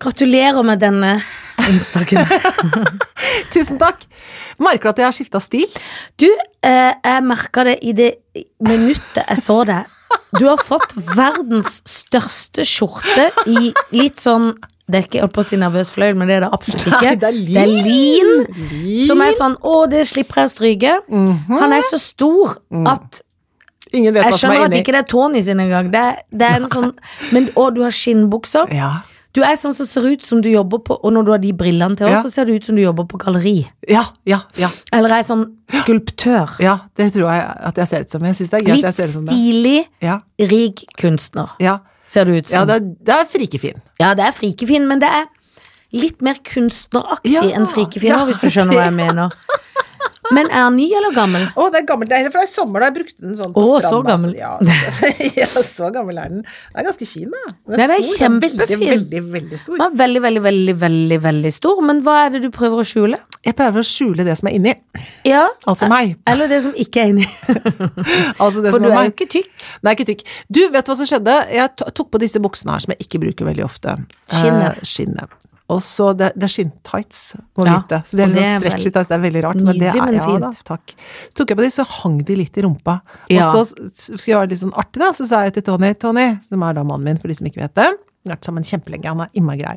Gratulerer med denne onsdagen. Tusen takk. Merker du at jeg har skifta stil? Du, eh, jeg merka det i det minuttet jeg så det. Du har fått verdens største skjorte i litt sånn Det er ikke jeg holdt på å si nervøs fløyel, men det er det absolutt ikke. Nei, det er lin. Det er lin. Som er sånn Å, det slipper jeg å stryke. Mhm. Han er så stor at Ingen vet Jeg hva Mm. som skjønner er at inni. ikke det er Tony sin engang. Det, er- det er en sånn Men å, du har skinnbukser. Ja. Du er sånn som ser ut som du jobber på Og når du har de brillene til oss, Ja. så ser du ut som du jobber på galleri. ja, ja, ja. Eller er sånn skulptør. Ja, det tror jeg at jeg ser ut som. Jeg syns det er gøy at Litt jeg ser ut som det. stilig, Ja, rik kunstner, ja. ser det ut som. ja det, er, det er frikefin. frikefin, men det er litt mer kunstneraktig Ja, enn frikefin, ja, nå, hvis du skjønner hva jeg mener. Men er han ny eller gammel? Å, det er gammelt. Det er fra i sommer da jeg brukte den sånn Å, på så stranda. gammel. Ja, ja, så gammel er den. Den er ganske fin, da. Den Nei, den er stor, den kjempefin. Veldig, veldig, veldig stor. Han er veldig, veldig, veldig, veldig veldig stor, men hva er det du prøver å skjule? Jeg prøver å skjule det som er inni. Ja, Altså meg. Eller det som ikke er inni. Altså det For du som er er jo meg. ikke tykk. Nei, ikke tykk. Du, vet du hva som skjedde? Jeg to- tok på disse buksene her, som jeg ikke bruker veldig ofte. Skinnet. Eh, skinnet. Og så Det, det er skinntights, må Ja, vite. Så det er og litt det er sånn vel- stretchy tights, det er veldig rart. men det Nydelig, er, men ja, Da, fint. takk. Så tok jeg på de, så hang de litt i rumpa. Ja. Og så s- skulle jeg være litt sånn artig, da, så sa jeg til Tony, Tony, som er da mannen min, for de som ikke vet det. Vi har vært sammen kjempelenge, han er imma grei.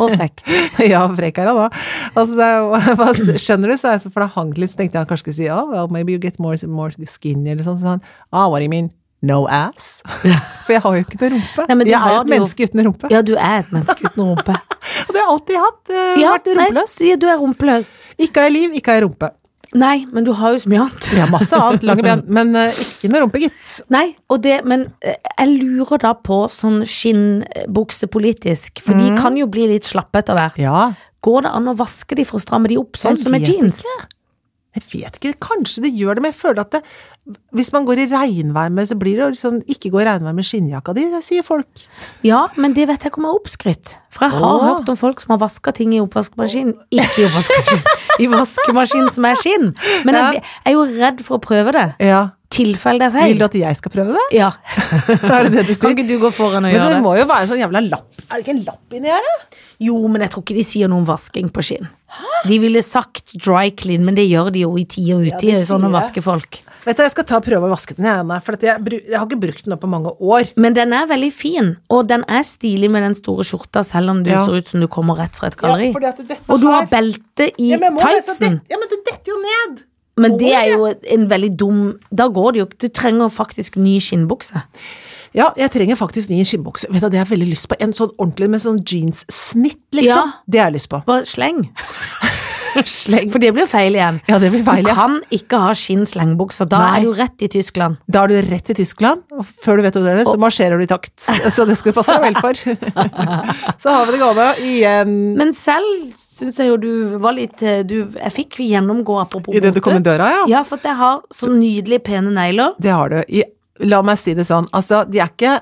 Og frekk. Ja, frekk er han òg. Altså, det er jo- hva s- skjønner du, sa jeg, så for da hang det litt, så tenkte jeg han kanskje skulle si ja, well, maybe you get more, more skinny eller sånn. Så sa han ah, what do you mean? No ass? For jeg har jo ikke noe rumpe. Nei, men du jeg er jo har et det jo. menneske uten rumpe. Ja, du er et menneske uten rumpe. Og det har jeg alltid hatt. eh, Ja, vært rumpeløs. Nei, du er rumpeløs. Ikke har jeg liv, ikke har jeg rumpe. Nei, men du har jo så mye annet. Jeg har masse annet, lange ben, men eh, ikke noe rumpe, gitt. Nei, og det, men eh, jeg lurer da på sånn skinnbukse politisk, for de kan jo bli litt slappe etter hvert. Mm. Ja, Går det an å vaske de for å stramme de opp, sånn Jeg som med vet jeans? jeg vet ikke, kanskje det gjør det, men jeg føler at det, hvis man går i regnvær med, så blir det jo sånn ikke gå i regnvær med skinnjakka di, sier folk. Ja, men det vet jeg ikke om er oppskrytt. For jeg har Åh. hørt om folk som har vaska ting i oppvaskmaskinen. Ikke i oppvaskmaskinen, i vaskemaskinen som er skinn. Men jeg, jeg er jo redd for å prøve det. Ja. Tilfelle det er Vil feil. du at jeg skal prøve det? Ja. Er det det du Kan sier? ikke du gå foran og Men gjøre det det? må jo være en sånn jævla lapp. Er det ikke en lapp inni her, da? Jo, men jeg tror ikke de sier noe om vasking på skinn. De ville sagt dry clean, men det gjør de jo i tid og utid, de sånn å sier vaske folk. Vet du, Jeg skal ta og prøve å vaske den, jeg, Anna. For at jeg, bru- jeg har ikke brukt den opp på mange år. Men den er veldig fin, og den er stilig med den store skjorta, selv om du Ja. ser ut som du kommer rett fra et galleri. Ja, fordi at dette og du har her- belte i Ja, men jeg må lese at tightsen. det- Ja, men det detter jo ned! Men det Går er jo en veldig dum Da går det jo ikke. Du trenger faktisk ny skinnbukse. Ja, jeg trenger faktisk ny skinnbukse. Vet du, Det har jeg veldig lyst på. En sånn ordentlig med sånn jeanssnitt, liksom. Ja. Det har jeg lyst på. Bare sleng. Sleng. For det blir jo feil igjen. Ja, det blir feil. Du Ja. kan ikke ha skinn-slengbukser. Da Nei. er du rett i Tyskland. Da er du rett til Tyskland, og før du vet ordet av det, så marsjerer du i takt. Så det skal du passe deg vel for. Så har vi det gående igjen. Men selv syns jeg jo du var litt eh, du, Jeg fikk jo gjennomgå apropos Idet du kom i døra, ja. Ja, for at jeg har så nydelige, pene negler. Det har du. I, la meg si det sånn, altså, de er ikke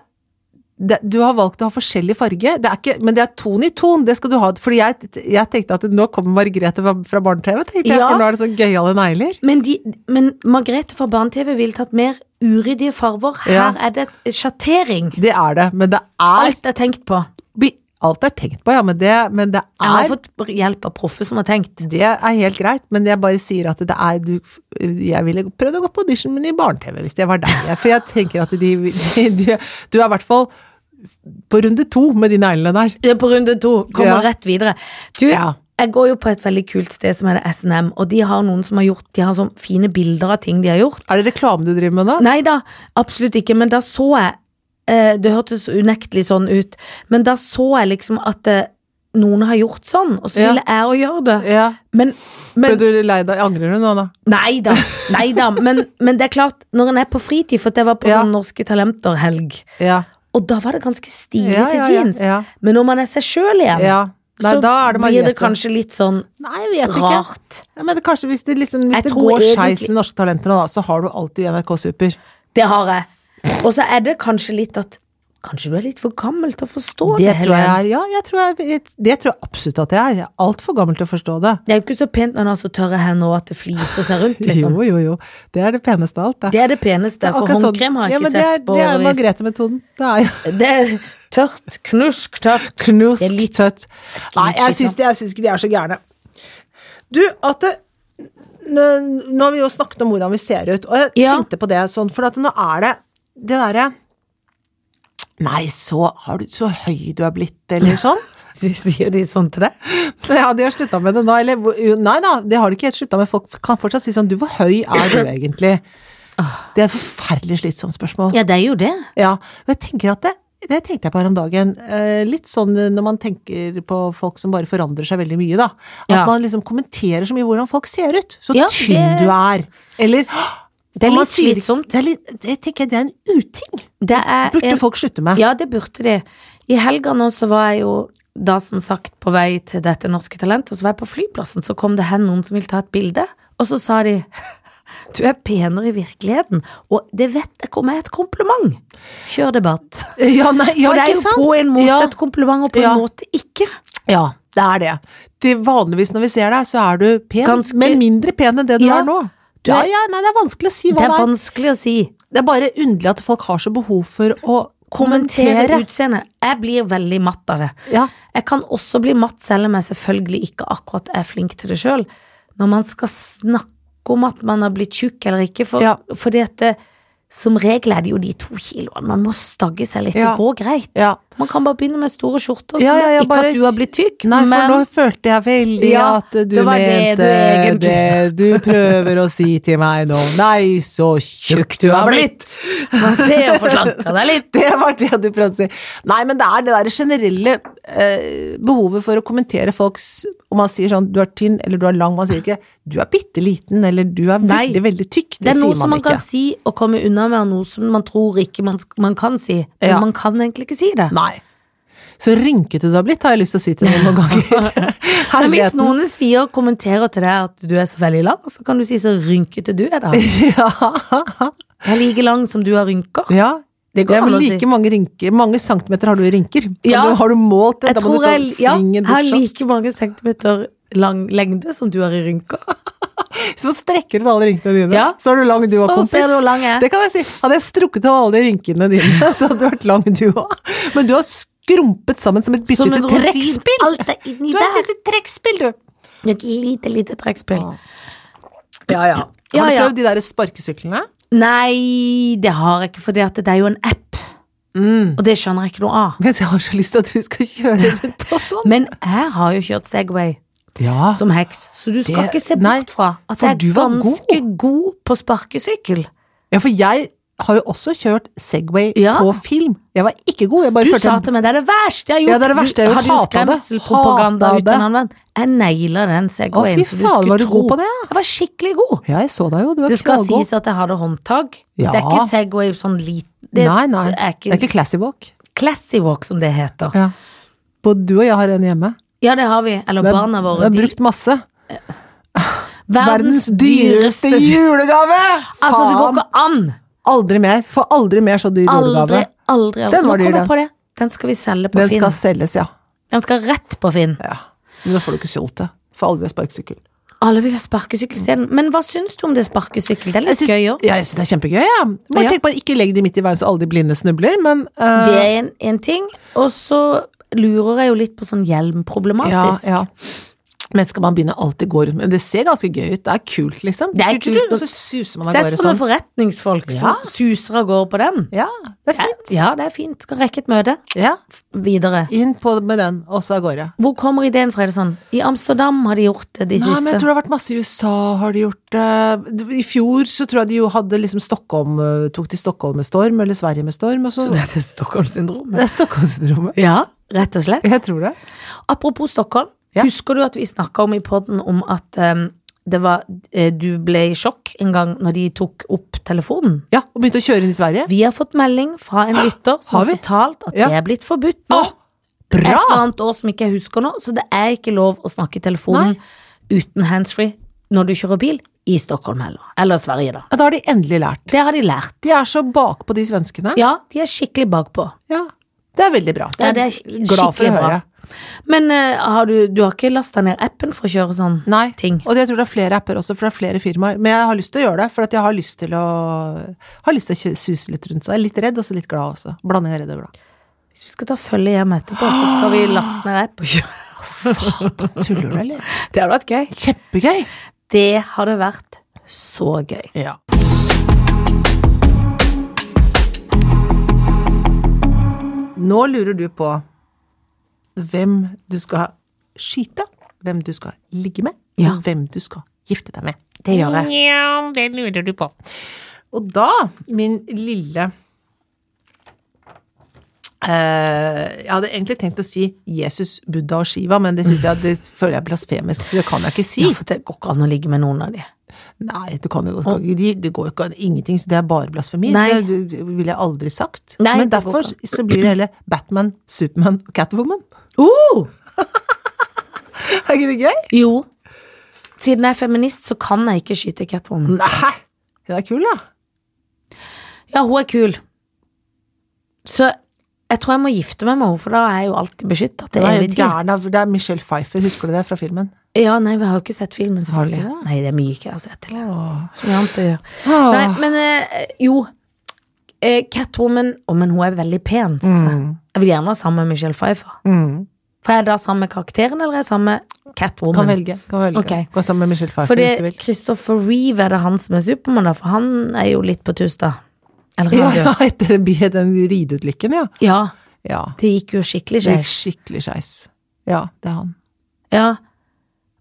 det, du har valgt å ha forskjellig farge, det er ikke, men det er ton i ton. Det skal du ha. Fordi jeg, jeg tenkte at nå kommer Margrethe fra, fra Barne-TV, tenkte jeg, Ja. for nå er det så gøyale negler. Men, de, men Margrethe fra Barne-TV ville tatt mer uryddige farver. Her Ja. er det et sjattering. Det er det, men det er Alt er tenkt på. bi- Alt er tenkt på, ja, men det, men det Jeg har er fått hjelp av proffe som har tenkt. Det er helt greit, men jeg bare sier at det er du, Jeg ville prøvd å gå på audition, men i barne-TV, hvis det var deg. jeg- For jeg tenker at de, de du, du er i hvert fall på runde to med de neglene der. Det er på runde to. Kommer Ja. rett videre. Du, Ja. jeg går jo på et veldig kult sted som heter SNM, og de har noen som har gjort De har sånn fine bilder av ting de har gjort. Er det reklame du driver med nå? Nei da, absolutt ikke, men da så jeg eh, Det hørtes unektelig sånn ut, men da så jeg liksom at eh, noen har gjort sånn, og så Ja. ville jeg òg gjøre det. Ja. Men, Ble men du lei deg? Angrer du nå, da? Nei da, nei da. Men, men det er klart, når en er på fritid, for at jeg var på Ja. sånn Norske Talenter-helg, Ja. og da var det ganske stilig Ja, ja, til ja, jeans. ja. Men når man er seg sjøl igjen, ja. Nei, så da er det blir Margrethe. det kanskje litt sånn Nei, jeg vet ikke. rart. Ja, men det, kanskje hvis det, liksom, Jeg hvis det tror går skeis egentlig- med Norske Talenter nå, da, så har du alltid NRK Super. Det har jeg. Og så er det kanskje litt at Kanskje du er litt for gammel til å forstå det, Det tror jeg Helen. er Ja, jeg tror jeg, det tror jeg absolutt at jeg er. Jeg er altfor gammel til å forstå det. Det er jo ikke så pent når han har så tørre hender og at det fliser seg rundt, liksom. Jo, jo, jo. Det er det peneste av alt, det. Det er det peneste, for Akkurat sånn. håndkrem har jeg Ja, ikke men det er- sett på Det er årevis. Margrethe-metoden. Det er jo Det, Tørt, knusk, tørt. Knusk Det er litt- tøtt. Nei, jeg skikkelig. syns, jeg syns ikke vi er så gærne. Du, at det, n- Nå har vi jo snakket om hvordan vi ser ut, og jeg Ja. tenkte på det sånn, for at nå er det det derre Nei, så, har du, så høy du er blitt, eller sånn. Sier de sånn til deg? Ja, de har slutta med det nå, eller hvor- jo, Nei da, det har de ikke helt slutta med. Folk kan fortsatt si sånn Du, hvor høy er du egentlig? Det er et forferdelig slitsomt spørsmål. Ja, det er jo det. Ja, og jeg tenker at det, det tenkte jeg på her om dagen. Eh, litt sånn eh, når man tenker på folk som bare forandrer seg veldig mye, da. At Ja. man liksom kommenterer så mye hvordan folk ser ut. Så Ja, tynn det- du er. Eller Det er Man litt sier- slitsomt. Det, er litt, det tenker jeg det er en uting. Det er Burde en- folk slutte med. Ja, det burde de. I helga nå så var jeg jo da som sagt på vei til dette norske talentet, og så var jeg på flyplassen, så kom det hen noen som ville ta et bilde, og så sa de du er penere i virkeligheten, og det vet jeg ikke om er et kompliment. Kjør debatt. Ja, nei, ja, For det er ikke jo sant? på en måte ja. et kompliment, og på Ja. en måte ikke. ja, det er det. Det vanligvis når vi ser deg, så er du pen, Ganske- men mindre pen enn det du Ja. er nå. Du ja, er- ja, nei, det er vanskelig å si hva Det det er er. vanskelig å si. Det er bare underlig at folk har så behov for å Kommentere kommentere. utseendet. Jeg blir veldig matt av det. Ja. Jeg kan også bli matt, selv om jeg selvfølgelig ikke akkurat er flink til det sjøl. Når man skal snakke om at man har blitt tjukk eller ikke, for, Ja. fordi at det, som regel er det jo de to kiloene. Man må stagge seg litt, Ja. det går greit. Ja. Man kan bare begynne med store skjorter. Ja, sånn. ja, ja, Altså, ikke bare- at du har blitt tykk, Nei, for men nå følte jeg veldig Ja, at du det var det mente du egentlig det du prøver å si til meg nå. Nei, så tjukk du har blitt! Man ser jo forslanka deg litt. Det var det du prøvde å si. Nei, men det er det derre generelle eh, behovet for å kommentere folks Om man sier sånn 'du er tynn' eller 'du er lang', man sier ikke 'du er bitte liten' eller 'du er Nei. veldig, veldig tykk'. Det Det, er noe sier som man man ikke. kan si og komme unna med, og noe som man tror ikke man, sk- man kan si. Men Ja. man kan egentlig ikke si det. Nei. Så rynkete du har blitt, har jeg lyst til å si til noen noen ganger. Men hvis Herligheten. noen sier og kommenterer til deg at du er så veldig lang, så kan du si så rynkete du er, da. Ja. Jeg er like lang som du har rynker. ja. Det Det går er an å si. like mange rynker. Mange centimeter har du i rynker? Kan Ja. Du, har du målt det? Jeg Da må du tror ta jeg ja, svingen jeg bort har sånn. like mange centimeter lang lengde som du har i rynker. Så strekker du til alle rynkene dine, Ja. så er du lang du òg, Så kompis. ser du hvor lang jeg er. Det kan jeg si. Hadde jeg strukket til alle rynkene dine, så hadde du vært lang du òg. Men du har skrumpet sammen som et bitte Som en lite rosin. trekkspill. Alt er inni Du er et der. lite trekkspill, du. Et lite, lite trekkspill. Ja, ja. Ja, Har du ja. prøvd de der sparkesyklene? Nei, det har jeg ikke, for det er jo en app. Og det skjønner jeg ikke noe av. Men jeg har så lyst til at du skal kjøre rundt på sånn. Men jeg har jo kjørt Segway Ja. som heks, så du skal Det- ikke se nei, bort fra at for jeg du er var ganske god på sparkesykkel. ja, for jeg har jo også kjørt Segway Ja. på film. Jeg var ikke god. Jeg bare Du følte sa jeg til meg det er det verste jeg har gjort. Ja, det er det verste jeg har Du gjort. hadde jo Hatet det. skremselpropaganda Hatet det. uten anvendt. Jeg naila den Segwayen. Å, fy så faen, skulle var du tro- god på det, ja? Jeg var skikkelig god. Ja, jeg så deg jo. Du er Det skal knallgod. sies at jeg hadde håndtak. Ja. Det er ikke Segway sånn liten Det nei, nei. er ikke, Det er ikke classy walk. classy walk, som det heter. Ja. Både du og jeg har en hjemme. Ja, det har vi. Eller Det er- barna det våre. er de- brukt masse. verdens dyreste julegave! Altså, det går Faen! ikke an! Aldri mer. Får aldri mer så dyr Aldri, julegave. aldri, aldri. Den var Nå kom dyr, jeg den. på det. Den skal vi selge på Den Finn. skal selges, ja. Den skal rett på Finn. ja. Men da får du ikke solgt det. For alle vil ha sparkesykkel. Alle vil ha sparkesykkel isteden. Men hva syns du om det sparkesykkel? Det er Jeg litt syns- gøy òg. Ja, jeg syns det er kjempegøy, ja. Bare Ja. tenk bare ikke legg de midt i veien så alle de blinde snubler, men eh, Det er en, en ting. Og så lurer jeg jo litt på sånn hjelmproblematisk. Ja, ja. Men skal man begynne alltid gå rundt med Det ser ganske gøy ut. Det er kult, liksom. Det er Du, du, kult. du, Og så suser man av Sett gårde sånne sånn. forretningsfolk Ja. som suser av gårde på den. Ja, det er Ja, fint. ja, det er fint. Skal rekke et møte Ja. videre. Inn på med den, og så av gårde. Hvor kommer ideen fra? Er det sånn? I Amsterdam har de gjort det de Nei, men siste. jeg tror det har vært masse i USA, har de gjort det. I fjor så tror jeg de jo hadde liksom Stockholm eh, Tok de Stockholm med storm, eller Sverige med storm, og Så så Det dette er Stockholm-syndromet? er Stockholm-syndromet. Ja, rett og slett. Jeg tror det. Apropos Stockholm. Ja. Husker du at vi snakka om i podden om at eh, det var, eh, du ble i sjokk en gang når de tok opp telefonen? Ja, og begynte å kjøre inn i Sverige. Vi har fått melding fra en lytter som Har har, vi? fortalt at Ja. det er blitt forbudt nå. Åh, Et bra! eller annet år som ikke jeg husker nå, så det er ikke lov å snakke i telefonen uten handsfree når du kjører bil i Stockholm heller. Eller Sverige, da. Ja, da har de endelig lært. Det har de lært. De er så bakpå, de svenskene. Ja, de er skikkelig bakpå. Ja. Det er veldig bra. Ja, det er Jeg glad for å skikkelig bra. høre. Men eh, har du, du har ikke lasta ned appen for å kjøre sånn? Nei. Ting. Og det, jeg tror det er flere apper også, for det er flere firmaer. Men jeg har lyst til å gjøre det, for at jeg har lyst til å, har lyst til å kjø- suse litt rundt. Så jeg er litt redd, og så litt glad også. Blanding av redd og glad. Hvis vi skal ta følge hjem etterpå, så skal vi laste ned app og kjøre. Satan, tuller du, eller? Altså, Det hadde vært gøy. Kjempegøy! Det hadde vært så gøy. Ja. Nå lurer du på hvem du skal skyte, hvem du skal ligge med, Ja. og hvem du skal gifte deg med. Det gjør jeg. Ja, det lurer du på. Og da, min lille eh, jeg hadde egentlig tenkt å si Jesus, Buddha og Shiva, men det synes jeg, det føler jeg er blasfemisk, så det kan jeg ikke si. Ja, for det går ikke an å ligge med noen av de. Nei, du kan jo ikke de- Det går jo ikke an. Ingenting. Så det er bare blasfemi. Nei. Så det, det ville jeg aldri sagt. Nei, Men det går derfor så blir det hele Batman, Supermann og Catwoman. Uh! Oh! Er ikke det gøy? Jo. Siden jeg er feminist, så kan jeg ikke skyte Catwoman. Nei! Hun er kul, da. Ja, hun er kul. Så jeg tror jeg må gifte meg med henne, for da er jeg jo alltid beskytta Hun til er evig helt tid. gæren av Det er Michelle Pfeiffer, husker du det fra filmen? Ja, nei, vi har jo ikke sett filmen, Har du ikke selvfølgelig. Nei, det er mye ikke jeg har sett til. Åh. Så mye annet å gjøre. Åh. Nei, men eh, jo. Eh, Catwoman Å, men hun er veldig pen, syns jeg. Mm. Jeg vil gjerne være sammen med Michelle Pfeiffer. Mm. For er jeg da sammen med karakteren, eller er jeg sammen med Kan Catwoman? velge. Kan velge. Ok. Gå sammen med Michelle Pfeiffer hvis du Fordi vil. Christopher Reeve er det han som er Supermann, da, for han er jo litt på tusta. Eller Ja, han ja, dør. etter den bi- den rideulykken, ja. Ja, ja. det gikk jo skikkelig Det gikk skeis. skikkelig skeis. Ja, det er han. Ja.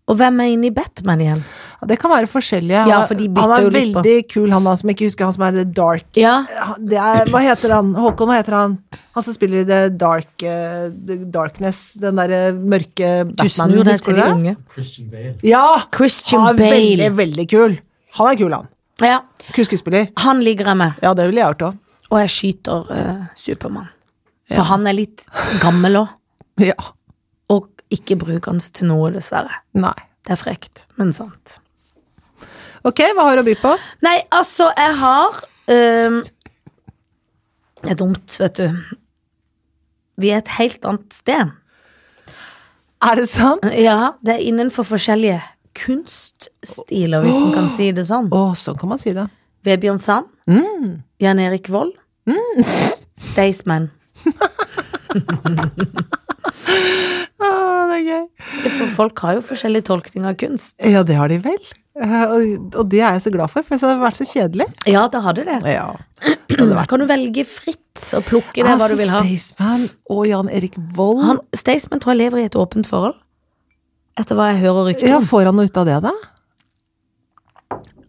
Og hvem er inne i Batman igjen? Ja, Det kan være forskjellige. Ja, for de bytter han er jo litt på. veldig kul, han da, som jeg ikke husker han som er The Dark Ja, Ja, det er, hva heter han? Håkon, hva heter han? Han som spiller i The Dark eh, The Darkness, den derre mørke du Batmanen, snur deg husker til du de det? unge. Christian Bale. Ja! Christian han er Bale. Veldig, veldig kul. Han er kul, han. Ja, Kul skuespiller. han ligger jeg med, Ja, det ville jeg gjort òg. og jeg skyter eh, Supermann. For han er litt gammel òg, Ja. og ikke brukende til noe, dessverre. Nei. Det er frekt, men sant. Ok, hva har du å by på? Nei, altså, jeg har øhm, Det er dumt, vet du. Vi er et helt annet sted. Er det sant? Ja, det er innenfor forskjellige kunststiler, hvis en kan si det sånn. Å, sånn kan man si det. Vebjørn Sand. Jan Erik Vold. Mm. Staysman. Å, det er gøy. For folk har jo forskjellig tolkning av kunst. Ja, det har de vel. Eh, Og, og det er jeg så glad for, for det hadde vært så kjedelig. Ja, det har du det. Ja. Da kan du velge fritt og plukke det hva du vil ha. Staysman og Jan Erik Vold. Han, Staysman tror jeg lever i et åpent forhold, etter hva jeg hører rykter ja, om. får han noe ut av det, da?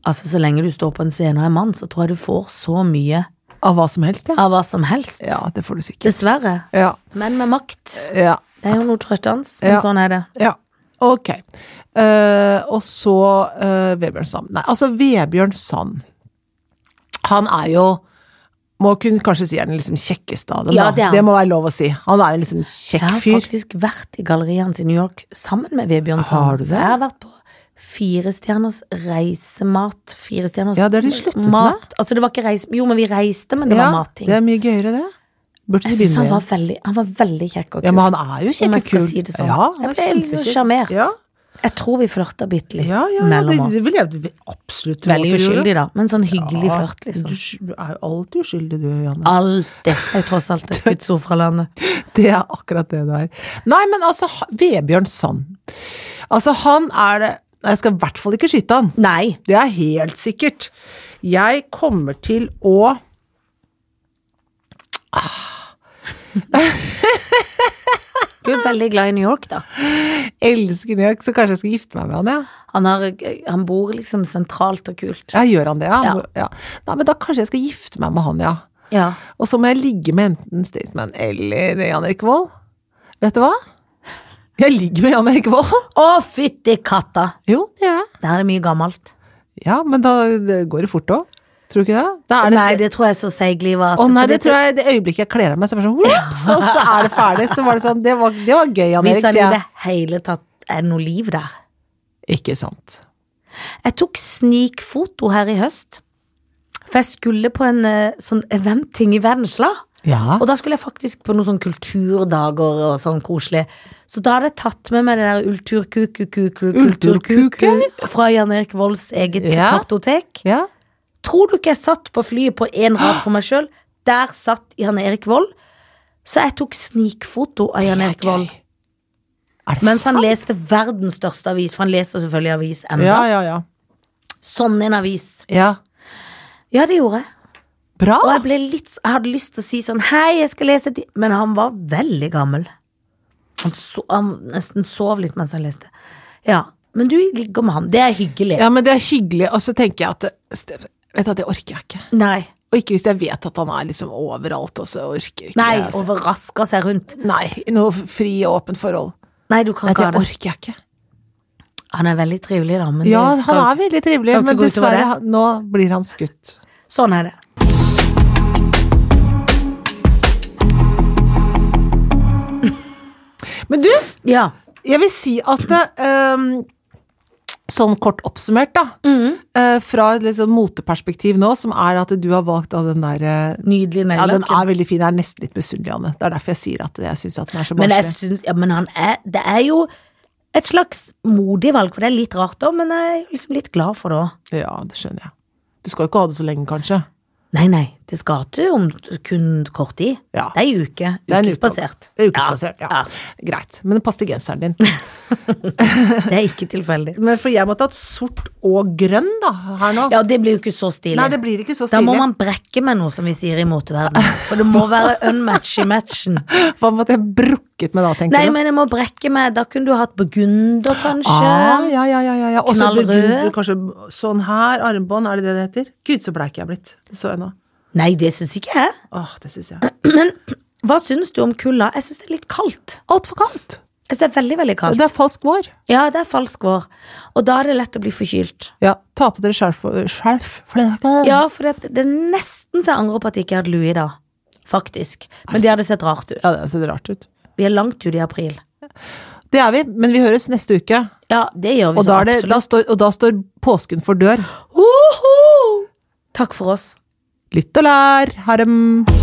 Altså, så lenge du står på en scene og er mann, så tror jeg du får så mye Av hva som helst, ja. av hva som helst. Ja, det får du sikkert. Dessverre. Ja. Menn med makt. Ja. Det er jo noe trøstende, men Ja. sånn er det. ja. Ok. Eh, og så eh, Vebjørn Sand. Nei, altså Vebjørn Sand. Han er jo Må kunne kanskje si er den liksom kjekkeste av dem, Ja, da. det er han. må være lov å si. Han er jo liksom kjekk Jeg har fyr. faktisk vært i galleriene til New York sammen med Vebjørn Sand. Har du det? Jeg har vært på Firestjerners reisemat. Firestjerners Ja, det har de sluttet med. mat. Altså, det var ikke reis... Jo, men vi reiste, men det ja, var matting. det er mye gøyere, det. Burde Jeg de syns begynne han med var veldig, han var veldig kjekk og kul. Ja, men han er jo om jeg skal kjempekul. si det sånn. Ja, han jeg er ble litt sånn kjempekul. sjarmert. Ja, Jeg tror vi flørta bitte litt ja, ja, ja det, mellom oss. det vil jeg absolutt tro. Veldig at du gjorde. uskyldig, da, men sånn hyggelig flørt, liksom. Du sky- Du er jo alltid uskyldig, du, Janne. Alltid. Jeg er tross alt et gudsord fra landet. Det er akkurat det det er. Nei, men altså, ha- Vebjørn Sand. Altså, han er det Jeg skal i hvert fall ikke skyte han. Nei. Det er helt sikkert. Jeg kommer til å Du er veldig glad i New York, da. elske New York, så kanskje jeg skal gifte meg med han, ja. Han, har, han bor liksom sentralt og kult. Ja, gjør han det, ja? Ja. ja. Nei, men da kanskje jeg skal gifte meg med han, ja. Ja. Og så må jeg ligge med enten Staysman eller Jan Erik Vold. Vet du hva? Jeg ligger med Jan Erik Vold. Å, fytti katta! Jo, det gjør jeg. Der er det mye gammelt. Ja, men da det går det fort òg. Tror du ikke det? Da er det Nei, det tror jeg er så seigliva at Å nei, det tror jeg det øyeblikket jeg kler av meg, så er det bare sånn whoops, og så er det ferdig. Så var det sånn, det var, det var gøy, Jan Hvis Erik, han sier i jeg. det hele tatt er det noe liv der. Ikke sant. Jeg tok snikfoto her i høst. For jeg skulle på en eh, sånn eventting i Vennesla. Ja. Og da skulle jeg faktisk på noen sånn kulturdager og sånn koselig. Så da hadde jeg tatt med meg det der ulturkuku-kuku Ulturkuku? fra Jan Erik Volds eget Ja. kartotek. ja. Tror du ikke jeg satt på flyet på én rad for meg sjøl? Der satt Jan Erik Vold. Så jeg tok snikfoto av Jan Erik Vold. Er det Mens han sant? leste verdens største avis, for han leser selvfølgelig avis ennå. Ja, ja, ja. Sånn en avis. ja. Ja, det gjorde jeg. Bra! Og jeg, ble litt, jeg hadde lyst til å si sånn Hei, jeg skal lese et di-» Men han var veldig gammel. Han, so, han nesten sov litt mens han leste. Ja. Men du ligger med han. Det er hyggelig. Ja, men det er hyggelig, og så tenker jeg at det- Ste- Vet du, det orker jeg ikke. Nei. Og ikke hvis jeg vet at han er liksom overalt, og så orker jeg ikke Nei, det. Altså. overrasker seg rundt. Nei, i noe fri og åpent forhold. Nei, du kan Nei, ikke det ha det. orker jeg ikke. Han er veldig trivelig, da. Men Ja, det han skal... er veldig trivelig, skal ikke men gå utover dessverre, det. han- nå blir han skutt. Sånn er det. Men du, Ja. jeg vil si at eh, Sånn kort oppsummert, da. Mm. eh, fra et litt sånn moteperspektiv nå, som er at du har valgt av den derre Nydelig Ja, den neglelakk. er veldig fin. Jeg er nesten litt misunnelig, Anne. Det er derfor jeg sier at jeg syns at den er så Men jeg barnslig. syns Ja, men han er Det er jo et slags modig valg, for det er litt rart òg, men jeg er liksom litt glad for det òg. Ja, det skjønner jeg. Du skal jo ikke ha det så lenge, kanskje. Nei, nei, det skal til om kun kort tid. Ja. Det er ei uke. Det er en uke. Ukesbasert. Det er ukesbasert, ja. Ja, Greit. Men det passer til genseren din. Det er ikke tilfeldig. Men for jeg måtte hatt sort og grønn, da, her nå. Ja, det blir jo ikke så stilig. Nei, det blir ikke så da må stilig. man brekke med noe, som vi sier i moteverdenen. For det må være unmatch i matchen. Hva måtte jeg brukket med da, tenker Nei, du? men jeg må brekke med Da kunne du hatt burgunder, kanskje. Ah, ja, ja, ja, ja, ja. Og så Knallrød. burgunder, kanskje sånn her, armbånd, er det det det heter? Gud, så bleik jeg er blitt. Det så jeg nå. Nei, det syns ikke jeg. Åh, det syns jeg. Hva syns du om kulda? Jeg syns det er litt kaldt. Altfor kaldt. Jeg synes det er veldig, veldig kaldt. Det er falsk vår. Ja, det er falsk vår. Og da er det lett å bli forkylt. Ja, ta på dere skjerf. skjerf. Ja, for det, det er nesten så jeg angrer på at jeg ikke hadde lue i dag. Faktisk. Men det hadde sett rart ut. ja, det ser rart ut. Vi er langt ute i april. Det er vi, men vi høres neste uke. Ja, det gjør vi Og så da, er det, absolutt. da, står, og da står påsken for dør. Hoho! Takk for oss. Lytt og lær. Ha det.